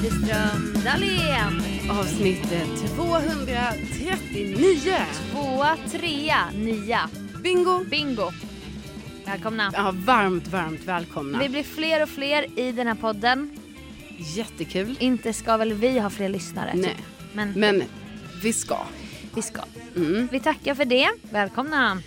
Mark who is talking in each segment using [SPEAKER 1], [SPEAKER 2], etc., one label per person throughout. [SPEAKER 1] Widerström Dahlén.
[SPEAKER 2] Avsnitt eh, 239.
[SPEAKER 1] Tvåa, trea, nia.
[SPEAKER 2] Bingo!
[SPEAKER 1] Bingo. Välkomna.
[SPEAKER 2] Ja, varmt, varmt välkomna.
[SPEAKER 1] Vi blir fler och fler i den här podden.
[SPEAKER 2] Jättekul.
[SPEAKER 1] Inte ska väl vi ha fler lyssnare? typ.
[SPEAKER 2] Nej,
[SPEAKER 1] Men
[SPEAKER 2] men vi ska.
[SPEAKER 1] vi ska.
[SPEAKER 2] Mm.
[SPEAKER 1] Vi tackar för det. Välkomna.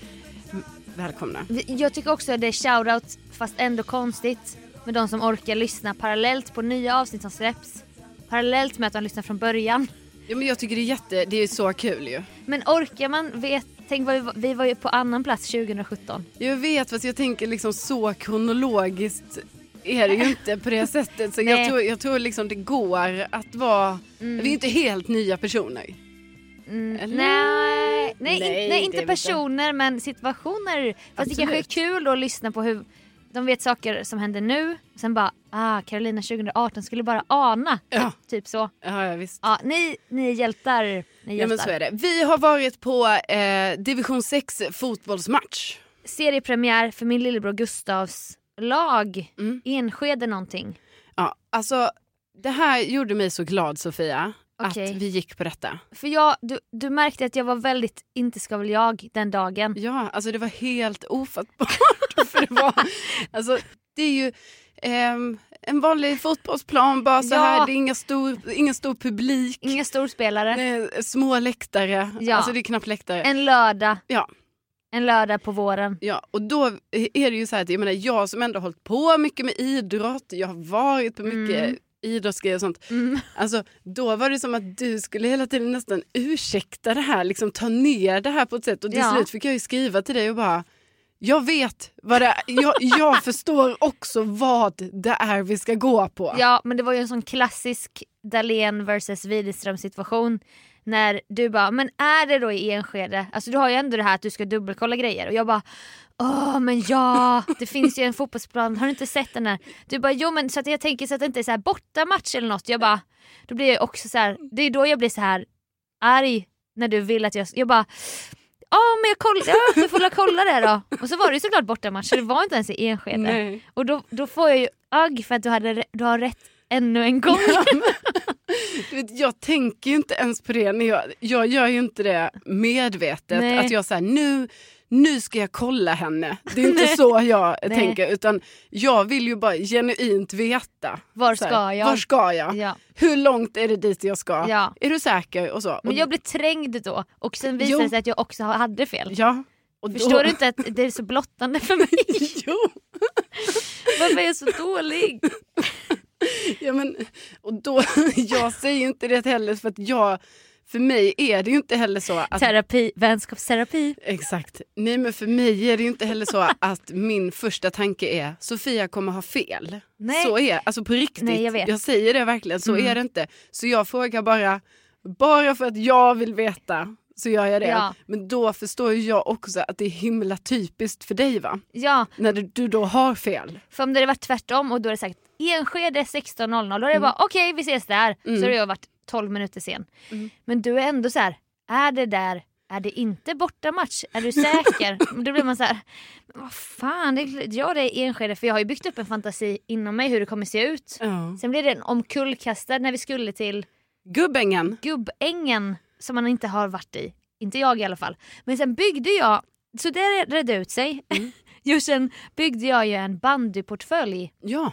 [SPEAKER 2] Välkomna.
[SPEAKER 1] Vi- Jag tycker också att det är shoutout, fast ändå konstigt, med de som orkar lyssna parallellt på nya avsnitt som släpps. Parallellt med att de lyssnar från början.
[SPEAKER 2] Ja, men jag tycker det är jätte, det är så kul ju.
[SPEAKER 1] Men orkar man? Vet, tänk vad vi, var- vi var ju på annan plats 2017.
[SPEAKER 2] Jag vet fast jag tänker liksom så kronologiskt är det ju inte på det sättet. Så jag
[SPEAKER 1] Nej.
[SPEAKER 2] tror, jag tror liksom det går att vara, vi är inte helt nya personer. Eller?
[SPEAKER 1] Mm. Nej, nej,
[SPEAKER 2] Nej,
[SPEAKER 1] in,
[SPEAKER 2] det
[SPEAKER 1] nej
[SPEAKER 2] är
[SPEAKER 1] inte
[SPEAKER 2] väl
[SPEAKER 1] personer men situationer. Fast det kanske är
[SPEAKER 2] Absolut.
[SPEAKER 1] kul då att lyssna på hur de vet saker som händer nu. Sen bara, ah Carolina 2018 skulle bara ana.
[SPEAKER 2] Ja.
[SPEAKER 1] Typ så.
[SPEAKER 2] Ja, ja, visst.
[SPEAKER 1] Ja, ni, ni är hjältar. Ni är
[SPEAKER 2] Ja men så
[SPEAKER 1] hjältar.
[SPEAKER 2] är det. Vi har varit på eh, division 6 fotbollsmatch.
[SPEAKER 1] Seriepremiär för min lillebror Gustavs lag.
[SPEAKER 2] Mm.
[SPEAKER 1] Enskede någonting.
[SPEAKER 2] Ja, alltså det här gjorde mig så glad Sofia.
[SPEAKER 1] Okej.
[SPEAKER 2] Att vi gick på detta.
[SPEAKER 1] För jag, du, du märkte att jag var väldigt inte ska väl jag den dagen.
[SPEAKER 2] Ja, alltså det var helt ofattbart. för det, var, alltså, det är ju ehm, en vanlig fotbollsplan bara så
[SPEAKER 1] Ja.
[SPEAKER 2] här. Det är inga stor, ingen stor publik.
[SPEAKER 1] Inga storspelare.
[SPEAKER 2] Eh, Små läktare.
[SPEAKER 1] Ja.
[SPEAKER 2] Alltså det är knappt läktare.
[SPEAKER 1] En lördag.
[SPEAKER 2] Ja.
[SPEAKER 1] En lördag på våren.
[SPEAKER 2] Ja, och då är det ju så här att jag menar jag som ändå har hållit på mycket med idrott, jag har varit på mycket
[SPEAKER 1] Mm.
[SPEAKER 2] idrottsgrejer och sånt.
[SPEAKER 1] Mm.
[SPEAKER 2] Alltså, då var det som att du skulle hela tiden nästan ursäkta det här, liksom ta ner det här på ett sätt. Och till
[SPEAKER 1] Ja.
[SPEAKER 2] slut fick jag ju skriva till dig och bara, jag vet vad det är, jag, jag förstår också vad det är vi ska gå på.
[SPEAKER 1] Ja, men det var ju en sån klassisk Dahlén versus Widerström situation. När du bara, men är det då i Enskede? Alltså du har ju ändå det här att du ska dubbelkolla grejer. Och jag bara, åh men ja, det finns ju en fotbollsplan, har du inte sett den här? Du bara, jo men så att jag tänker så att det inte är så här bortamatch eller något. Jag bara, då blir jag också så här, det är då jag blir så här arg när du vill att jag, jag bara, ja men jag kollar, ja, du får väl kolla det då. Och så var det ju såklart bortamatch, så det var inte ens i Enskede.
[SPEAKER 2] Nej.
[SPEAKER 1] Och då, då får jag ju agg för att du, hade, re- du har rätt ännu en gång.
[SPEAKER 2] Du vet, jag tänker ju inte ens på det. När jag, jag gör ju inte det medvetet.
[SPEAKER 1] Nej.
[SPEAKER 2] Att jag säger nu, nu ska jag kolla henne. Det är inte så jag
[SPEAKER 1] Nej.
[SPEAKER 2] tänker. Utan jag vill ju bara genuint veta.
[SPEAKER 1] Var
[SPEAKER 2] Så här,
[SPEAKER 1] ska jag?
[SPEAKER 2] Var ska jag?
[SPEAKER 1] Ja.
[SPEAKER 2] Hur långt är det dit jag ska?
[SPEAKER 1] Ja.
[SPEAKER 2] Är du säker? Och så.
[SPEAKER 1] Men
[SPEAKER 2] Och-
[SPEAKER 1] jag blev trängd då och sen visade det
[SPEAKER 2] Jo.
[SPEAKER 1] sig att jag också hade fel.
[SPEAKER 2] ja. Och då-
[SPEAKER 1] Förstår du inte att det är så blottande för mig?
[SPEAKER 2] jo.
[SPEAKER 1] Varför är jag så dålig?
[SPEAKER 2] Ja, men, och då, jag säger ju inte det heller för att jag, för mig är det ju inte heller så att
[SPEAKER 1] Terapi, vänskapsterapi.
[SPEAKER 2] Exakt. Nej men för mig är det ju inte heller så att min första tanke är Sofia kommer ha fel.
[SPEAKER 1] Nej.
[SPEAKER 2] Så är Alltså på riktigt.
[SPEAKER 1] Nej, jag vet. Mm.
[SPEAKER 2] säger det verkligen, så är det inte. Så jag frågar bara, bara för att jag vill veta så gör jag det.
[SPEAKER 1] Ja.
[SPEAKER 2] Men då förstår ju jag också att det är himla typiskt för dig va?
[SPEAKER 1] Ja,
[SPEAKER 2] När du, du då har fel.
[SPEAKER 1] för om det hade varit tvärtom och då hade det sagt Enskede 16.00 då hade jag bara okej vi ses där. Så hade jag varit 12 minuter sen. Men du är ändå så här, är det där, är det inte bortamatch? Är du säker? då blir man så här, men vad fan, det är, klart- ja det är Enskede för jag har ju byggt upp en fantasi inom mig hur det kommer se ut.
[SPEAKER 2] Ja.
[SPEAKER 1] Sen blev den omkullkastad när vi skulle till
[SPEAKER 2] Gubbängen.
[SPEAKER 1] Gubbängen som man inte har varit i. Inte jag i alla fall. Men sen byggde jag, så det redde ut sig. jo, sen byggde jag ju en bandyportfölj.
[SPEAKER 2] Ja.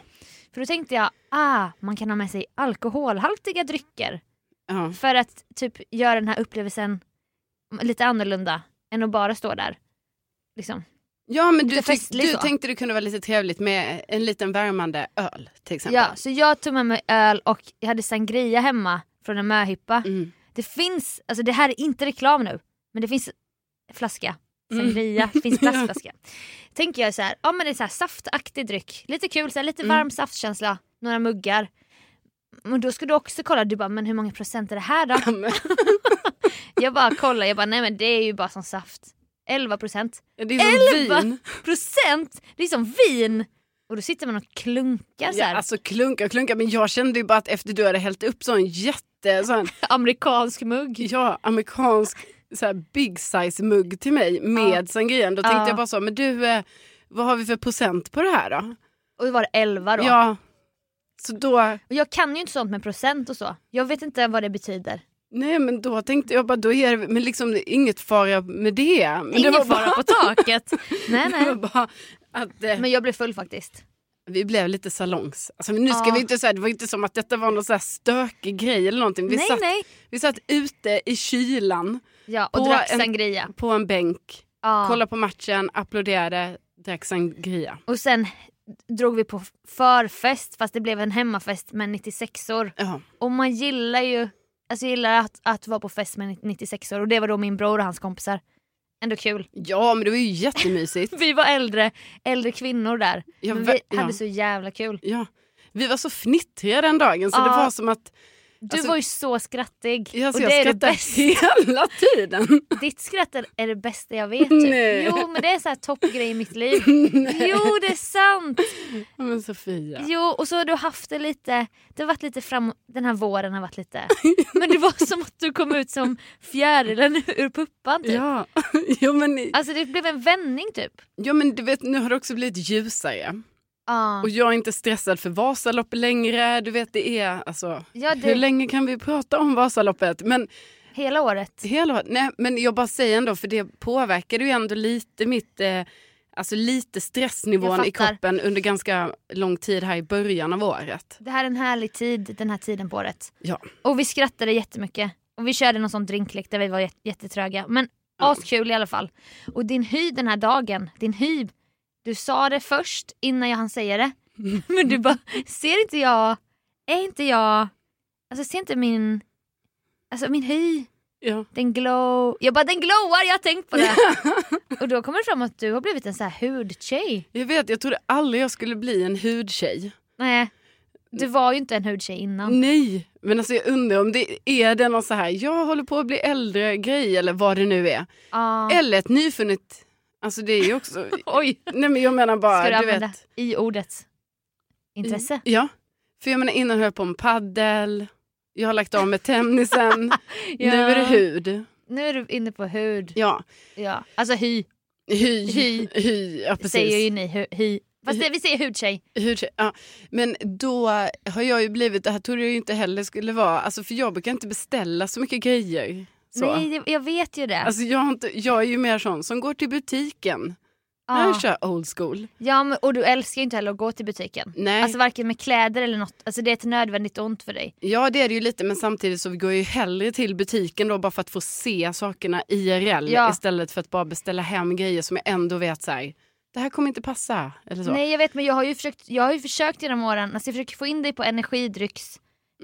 [SPEAKER 1] För då tänkte jag, ah, man kan ha med sig alkoholhaltiga drycker.
[SPEAKER 2] ja.
[SPEAKER 1] För att typ göra den här upplevelsen lite annorlunda än att bara stå där. Liksom.
[SPEAKER 2] Ja men du,
[SPEAKER 1] Lite
[SPEAKER 2] tyck,
[SPEAKER 1] festlig
[SPEAKER 2] du
[SPEAKER 1] så.
[SPEAKER 2] tänkte det kunde vara lite trevligt med en liten värmande öl till exempel.
[SPEAKER 1] Ja, så jag tog med mig öl och jag hade sangria hemma från en möhippa.
[SPEAKER 2] Mm.
[SPEAKER 1] Det finns, alltså det här är inte reklam nu, men det finns flaska. Sangria, det finns plastflaska. Tänker jag så här, ja men det är så här saftaktig dryck. Lite kul, så här, lite varm saftkänsla, några muggar. Men då ska du också kolla, du bara men hur många procent är det här då?
[SPEAKER 2] Ja, men-
[SPEAKER 1] Jag bara kollar, jag bara nej men det är ju bara som saft. 11 procent.
[SPEAKER 2] Det är som
[SPEAKER 1] Elva
[SPEAKER 2] vin.
[SPEAKER 1] Procent! Det är som vin! Och då sitter man och klunkar så
[SPEAKER 2] Ja,
[SPEAKER 1] här.
[SPEAKER 2] alltså klunka och klunka, men jag kände ju bara att efter du hade hällt upp sån jätte, sån,
[SPEAKER 1] Amerikansk mugg.
[SPEAKER 2] ja, amerikansk så här big size mugg till mig med sangrian, då tänkte
[SPEAKER 1] Ja.
[SPEAKER 2] jag bara så, men du, eh, vad har vi för procent på det här då?
[SPEAKER 1] Och då var det 11 då.
[SPEAKER 2] Ja, Så då,
[SPEAKER 1] Och jag kan ju inte sånt med procent och så. Jag vet inte vad det betyder.
[SPEAKER 2] nej men då tänkte jag bara, då är det men liksom det är inget fara med det. Men det
[SPEAKER 1] Ingen
[SPEAKER 2] var
[SPEAKER 1] fara på taket. nej
[SPEAKER 2] det var
[SPEAKER 1] nej.
[SPEAKER 2] bara att eh,
[SPEAKER 1] Men jag blev full faktiskt.
[SPEAKER 2] vi blev lite salongs. Alltså, men nu ska
[SPEAKER 1] Ja.
[SPEAKER 2] vi inte säga, det var inte som att detta var någon så här stökig grej eller någonting. Vi,
[SPEAKER 1] nej
[SPEAKER 2] satt,
[SPEAKER 1] nej.
[SPEAKER 2] vi satt ute i kylan
[SPEAKER 1] Ja, och
[SPEAKER 2] på
[SPEAKER 1] drack
[SPEAKER 2] en-
[SPEAKER 1] sangria.
[SPEAKER 2] på en bänk,
[SPEAKER 1] Ja.
[SPEAKER 2] kollade på matchen, applåderade, drack sangria.
[SPEAKER 1] Och sen drog vi på förfest fast det blev en hemmafest med 96or.
[SPEAKER 2] Ja.
[SPEAKER 1] Och man gillar ju alltså jag gillar att, att vara på fest med 96or och det var då min bror och hans kompisar. Ändå kul.
[SPEAKER 2] ja men det var ju jättemysigt.
[SPEAKER 1] Vi var äldre, äldre kvinnor där.
[SPEAKER 2] Jag
[SPEAKER 1] men
[SPEAKER 2] vä-
[SPEAKER 1] vi hade
[SPEAKER 2] ja.
[SPEAKER 1] så jävla kul.
[SPEAKER 2] Ja. Vi var så fnittriga den dagen så det
[SPEAKER 1] Ja.
[SPEAKER 2] var som att
[SPEAKER 1] Du
[SPEAKER 2] Alltså-
[SPEAKER 1] var ju så skrattig.
[SPEAKER 2] jag,
[SPEAKER 1] och
[SPEAKER 2] jag
[SPEAKER 1] det är det
[SPEAKER 2] skrattade
[SPEAKER 1] bästa.
[SPEAKER 2] hela tiden.
[SPEAKER 1] Ditt skratt är- är det bästa jag vet. Typ.
[SPEAKER 2] Nej.
[SPEAKER 1] Jo men det är så här toppgrej i mitt liv. Jo det är sant.
[SPEAKER 2] Ja, men Sofia.
[SPEAKER 1] Jo och så har du haft det lite, det har varit lite fram, den här våren har varit lite. Men det var som att du kom ut som fjärilen ur puppan typ.
[SPEAKER 2] Ja. Jo, men,
[SPEAKER 1] Alltså det blev en vändning typ.
[SPEAKER 2] ja men du vet nu har det också blivit ljusare.
[SPEAKER 1] Ja.
[SPEAKER 2] Och jag är inte stressad för Vasaloppet längre. Du vet det är alltså.
[SPEAKER 1] Ja
[SPEAKER 2] Hur
[SPEAKER 1] det,
[SPEAKER 2] länge kan vi prata om Vasaloppet? Men,
[SPEAKER 1] hela året.
[SPEAKER 2] hela, nej, men jag bara säger ändå för det påverkade ju ändå lite mitt eh, Alltså lite stressnivån
[SPEAKER 1] Jag
[SPEAKER 2] i
[SPEAKER 1] fattar.
[SPEAKER 2] kroppen under ganska lång tid här i början av året.
[SPEAKER 1] Det här är en härlig tid, den här tiden på året.
[SPEAKER 2] Ja.
[SPEAKER 1] Och vi skrattade jättemycket. Och vi körde någon sån drinklek där vi var jät- jättetröga. Men
[SPEAKER 2] Ja.
[SPEAKER 1] askul i alla fall. Och din hy den här dagen, din hy. Du sa det först innan jag hann säga det. Men du bara, ser inte jag, är inte jag, alltså ser inte min, alltså min hy,
[SPEAKER 2] Ja.
[SPEAKER 1] den glow. Jag bara den glowar, jag har tänkt på det. Och då kommer det fram att du har blivit en sån här hudtjej.
[SPEAKER 2] Jag vet, jag trodde aldrig jag skulle bli en hudtjej.
[SPEAKER 1] Nej, du var ju inte en hudtjej innan.
[SPEAKER 2] Nej, men alltså jag undrar om det är det någon så här, jag håller på att bli äldre grej eller vad det nu är.
[SPEAKER 1] Ja.
[SPEAKER 2] Eller ett nyfunnet, alltså det är ju också,
[SPEAKER 1] Oj,
[SPEAKER 2] nej men jag menar bara,
[SPEAKER 1] ska du
[SPEAKER 2] du,
[SPEAKER 1] använda
[SPEAKER 2] vet.
[SPEAKER 1] i ordet intresse?
[SPEAKER 2] Ja, för jag menar innan höll jag på med paddel. jag har lagt av med tennisen, nu är det hud.
[SPEAKER 1] Nu är du inne på hud.
[SPEAKER 2] Ja,
[SPEAKER 1] Ja. Alltså hy,
[SPEAKER 2] hy,
[SPEAKER 1] Hy.
[SPEAKER 2] hy, ja precis.
[SPEAKER 1] säger ju ni. Hu, hy. Fast det, vi säger hudtjej.
[SPEAKER 2] Hur, ja. Men då har jag ju blivit, det här trodde jag ju inte heller skulle vara, alltså för jag brukar inte beställa så mycket grejer. Så.
[SPEAKER 1] Nej, det- jag vet ju det.
[SPEAKER 2] Alltså jag, har inte, jag är ju mer sån som går till butiken.
[SPEAKER 1] Ja.
[SPEAKER 2] Jag kör old school.
[SPEAKER 1] Ja, men, och du älskar ju inte heller att gå till butiken.
[SPEAKER 2] Nej.
[SPEAKER 1] Alltså varken med kläder eller något. Alltså det är ett nödvändigt ont för dig.
[SPEAKER 2] Ja det är det ju lite men samtidigt så går jag ju hellre till butiken då bara för att få se sakerna IRL
[SPEAKER 1] Ja.
[SPEAKER 2] istället för att bara beställa hem grejer som jag ändå vet så här, det här kommer inte passa. Eller så.
[SPEAKER 1] Nej jag vet men jag har ju försökt, jag har ju försökt genom åren, alltså jag försöker få in dig på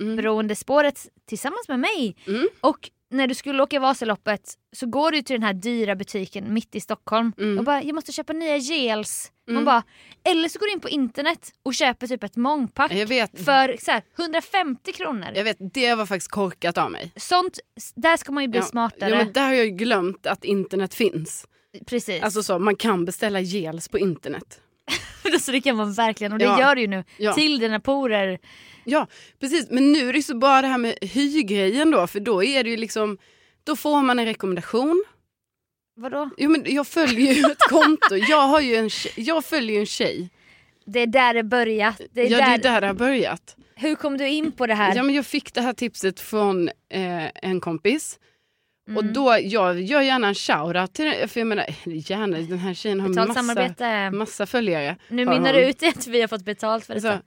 [SPEAKER 1] energidrycksberoendespåret tillsammans med mig.
[SPEAKER 2] Mm.
[SPEAKER 1] Och när du skulle åka Vasaloppet så går du till den här dyra butiken mitt i Stockholm
[SPEAKER 2] Mm.
[SPEAKER 1] och bara jag måste köpa nya gels. Man
[SPEAKER 2] Mm.
[SPEAKER 1] bara, eller så går du in på internet och köper typ ett mångpack
[SPEAKER 2] Jag, vet,
[SPEAKER 1] för så här, 150 kronor.
[SPEAKER 2] jag vet, det var faktiskt korkat av mig.
[SPEAKER 1] Sånt, där ska man ju bli
[SPEAKER 2] Ja.
[SPEAKER 1] smartare.
[SPEAKER 2] Ja, men där har jag ju glömt att internet finns.
[SPEAKER 1] Precis.
[SPEAKER 2] Alltså så, man kan beställa gels på internet.
[SPEAKER 1] så det kan man verkligen och det
[SPEAKER 2] Ja.
[SPEAKER 1] gör du ju nu.
[SPEAKER 2] Ja.
[SPEAKER 1] Till dina porer.
[SPEAKER 2] Ja, precis. Men nu är det ju så bara det här med hygrejen då, för då är det ju liksom, då får man en rekommendation.
[SPEAKER 1] Vadå?
[SPEAKER 2] Jo, men jag följer ju ett konto, jag, har ju en tjej, jag följer ju en tjej.
[SPEAKER 1] Det är där det börjar. Det är
[SPEAKER 2] ja,
[SPEAKER 1] där...
[SPEAKER 2] det är där det har börjat.
[SPEAKER 1] Hur kom du in på det här?
[SPEAKER 2] Ja, men jag fick det här tipset från eh, en kompis. Och
[SPEAKER 1] Mm.
[SPEAKER 2] då, jag gör gärna en shoutout till den, för jag menar, eller gärna, den här tjejen har
[SPEAKER 1] Betalt
[SPEAKER 2] massa,
[SPEAKER 1] samarbete.
[SPEAKER 2] massa följare.
[SPEAKER 1] Nu
[SPEAKER 2] har
[SPEAKER 1] mynnar
[SPEAKER 2] hon.
[SPEAKER 1] det ut i att vi har fått betalt för
[SPEAKER 2] Alltså,
[SPEAKER 1] detta.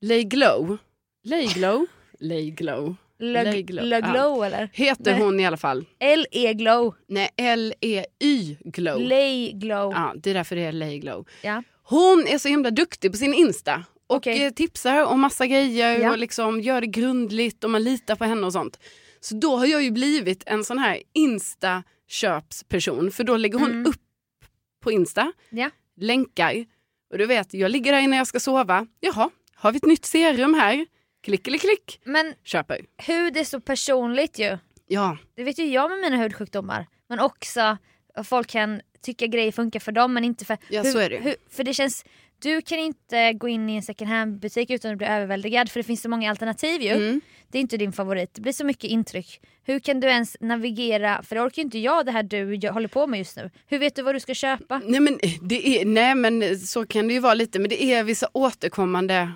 [SPEAKER 2] Lay Glow, Lay Glow, Lay Glow, Lay
[SPEAKER 1] Lög-
[SPEAKER 2] Glow,
[SPEAKER 1] Löglow eller? E
[SPEAKER 2] heter
[SPEAKER 1] Nej.
[SPEAKER 2] hon i alla fall.
[SPEAKER 1] L-E-glow.
[SPEAKER 2] Nej, L-E-Y Glow.
[SPEAKER 1] Lay-glow.
[SPEAKER 2] ja, det är därför det är Lay Glow.
[SPEAKER 1] Ja.
[SPEAKER 2] Hon är så himla duktig på sin Insta. Och
[SPEAKER 1] Okej.
[SPEAKER 2] eh, tipsar om massa grejer
[SPEAKER 1] Ja.
[SPEAKER 2] och liksom gör det grundligt och man litar på henne och sånt. Så då har jag ju blivit en sån här Insta-köpsperson. För då lägger hon
[SPEAKER 1] Mm.
[SPEAKER 2] upp på Insta,
[SPEAKER 1] Ja.
[SPEAKER 2] länkar. Och du vet, jag ligger där innan jag ska sova. Jaha, har vi ett nytt serum här? Klick, klick, klick.
[SPEAKER 1] Men
[SPEAKER 2] Köper.
[SPEAKER 1] hud är så personligt ju.
[SPEAKER 2] Ja,
[SPEAKER 1] Det vet ju jag med mina hudsjukdomar. Men också att folk kan tycka grejer funkar för dem men inte för...
[SPEAKER 2] Ja, så är det ju.
[SPEAKER 1] för det känns... Du kan inte gå in i en second hand butik utan att bli överväldigad för det finns så många alternativ ju.
[SPEAKER 2] Mm.
[SPEAKER 1] Det är inte din favorit. Det blir så mycket intryck. Hur kan du ens navigera? För det orkar ju inte jag det här du gör- håller på med just nu. Hur vet du vad du ska köpa?
[SPEAKER 2] eh, Nej men, det är, nej men så kan det ju vara lite, men det är vissa återkommande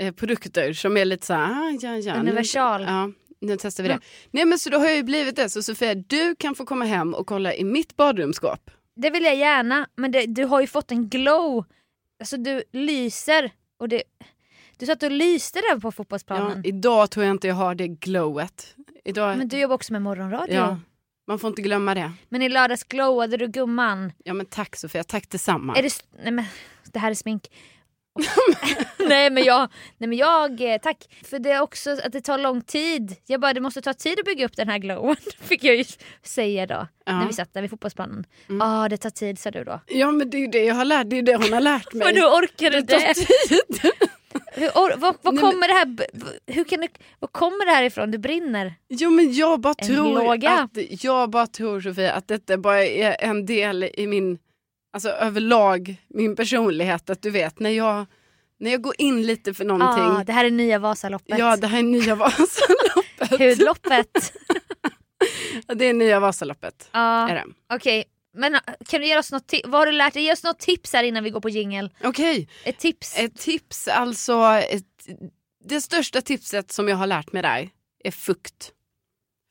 [SPEAKER 2] eh, produkter som är lite så här, ah, ja, ja. nu-
[SPEAKER 1] Universal.
[SPEAKER 2] Ja, nu testar vi det.
[SPEAKER 1] Mm.
[SPEAKER 2] Nej men så då har jag ju blivit det. Så Sofia, du kan få komma hem och kolla i mitt badrumsskåp.
[SPEAKER 1] Det vill jag gärna, men det, du har ju fått en glow. Alltså du lyser. Och det, du satt och lyste där på
[SPEAKER 2] Ja,
[SPEAKER 1] fotbollsplanen.
[SPEAKER 2] idag tror jag inte jag har det glowet. Idag,
[SPEAKER 1] men du jobbar också med morgonradio.
[SPEAKER 2] ja, man får inte glömma det.
[SPEAKER 1] Men i lördags glowade du gumman.
[SPEAKER 2] Ja men tack Sofia, tack detsamma.
[SPEAKER 1] Är det, s- nej men, det här är smink. nej, men jag, nej men jag, eh, tack. För det är också att det tar lång tid. Jag bara, det måste ta tid att bygga upp den här glowen. Fick jag ju säga då.
[SPEAKER 2] Ja.
[SPEAKER 1] När vi satt där vid fotbollsplanen. Ja,
[SPEAKER 2] Mm.
[SPEAKER 1] ah, det tar tid sa du då.
[SPEAKER 2] Ja men det är ju det jag har lärt, det är ju det hon har lärt mig.
[SPEAKER 1] Men hur orkar du
[SPEAKER 2] Det tar
[SPEAKER 1] det?
[SPEAKER 2] tid.
[SPEAKER 1] Hur, or, vad, vad
[SPEAKER 2] Nej, men-
[SPEAKER 1] kommer det här, b- v- hur kan du, vad kommer det här ifrån? Du brinner.
[SPEAKER 2] Jo men jag bara
[SPEAKER 1] En
[SPEAKER 2] tror
[SPEAKER 1] låga.
[SPEAKER 2] att, jag bara tror Sofia att detta bara är en del i min, alltså överlag min personlighet att du vet när jag, när jag går in lite för någonting.
[SPEAKER 1] Ah, det här är nya Vasaloppet.
[SPEAKER 2] ja det här är nya Vasaloppet.
[SPEAKER 1] Hudloppet.
[SPEAKER 2] Ja, det är nya Vasaloppet.
[SPEAKER 1] Ja,
[SPEAKER 2] Är det.
[SPEAKER 1] Okej, men ah, kan du ge oss något ti- Vad har du lärt dig? Ge oss något tips här innan vi går på jingel.
[SPEAKER 2] Okej,
[SPEAKER 1] Ett tips.
[SPEAKER 2] ett tips alltså. Ett, det största tipset som jag har lärt mig där är fukt.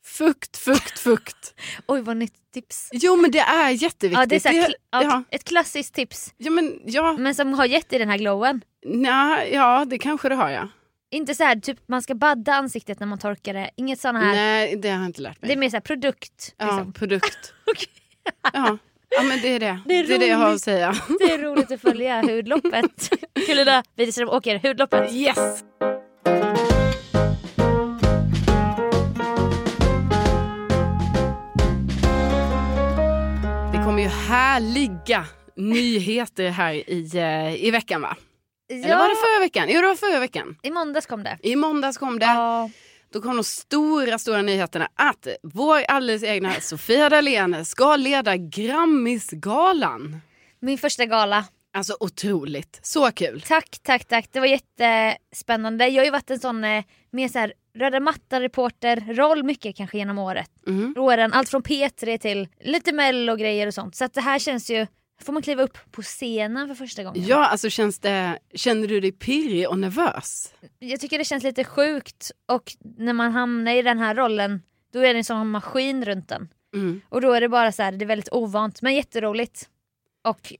[SPEAKER 2] Fukt, fukt, fukt.
[SPEAKER 1] Oj vad nytt tips.
[SPEAKER 2] Jo men det är jätteviktigt.
[SPEAKER 1] Ja, det är så här,
[SPEAKER 2] Det-
[SPEAKER 1] kl- ja,
[SPEAKER 2] ja.
[SPEAKER 1] Ett klassiskt tips.
[SPEAKER 2] ja, men, ja,
[SPEAKER 1] Men som har gett dig den här glowen.
[SPEAKER 2] nej, ja det kanske det har jag.
[SPEAKER 1] Inte så här typ man ska badda ansiktet när man torkar det. Inget sånt här.
[SPEAKER 2] Nej, det har jag inte lärt mig.
[SPEAKER 1] Det är mer så här produkt.
[SPEAKER 2] ja,
[SPEAKER 1] Liksom.
[SPEAKER 2] produkt.
[SPEAKER 1] Okej.
[SPEAKER 2] ja. ja, men det är det.
[SPEAKER 1] Det är
[SPEAKER 2] det jag har att
[SPEAKER 1] roligt.
[SPEAKER 2] säga.
[SPEAKER 1] Det är roligt att följa hudloppet. Kulina Widerström åker hudloppet.
[SPEAKER 2] Yes! Det kommer ju härliga nyheter här i, eh, i veckan va? Eller var det förra veckan? Jo det var förra veckan.
[SPEAKER 1] I måndags kom det.
[SPEAKER 2] I måndags kom det.
[SPEAKER 1] Ja.
[SPEAKER 2] Då kom de stora, stora nyheterna att vår alldeles egna Sofia Dalén ska leda Grammisgalan.
[SPEAKER 1] Min första gala.
[SPEAKER 2] Alltså otroligt, så kul.
[SPEAKER 1] Tack, tack, tack. Det var jättespännande. Jag har ju varit en sån eh, mer så här, röda mattan-reporter-roll mycket kanske genom året.
[SPEAKER 2] Mhm.
[SPEAKER 1] åren. Allt från P3 till lite mello-grejer och sånt. Så att det här känns ju... Får man kliva upp på scenen för första gången?
[SPEAKER 2] Ja, alltså känns det, känner du dig pirrig och nervös?
[SPEAKER 1] Jag tycker det känns lite sjukt och när man hamnar i den här rollen då är det en sån maskin runt den.
[SPEAKER 2] Mm.
[SPEAKER 1] Och då är det bara så här, det är väldigt ovant men jätteroligt. Och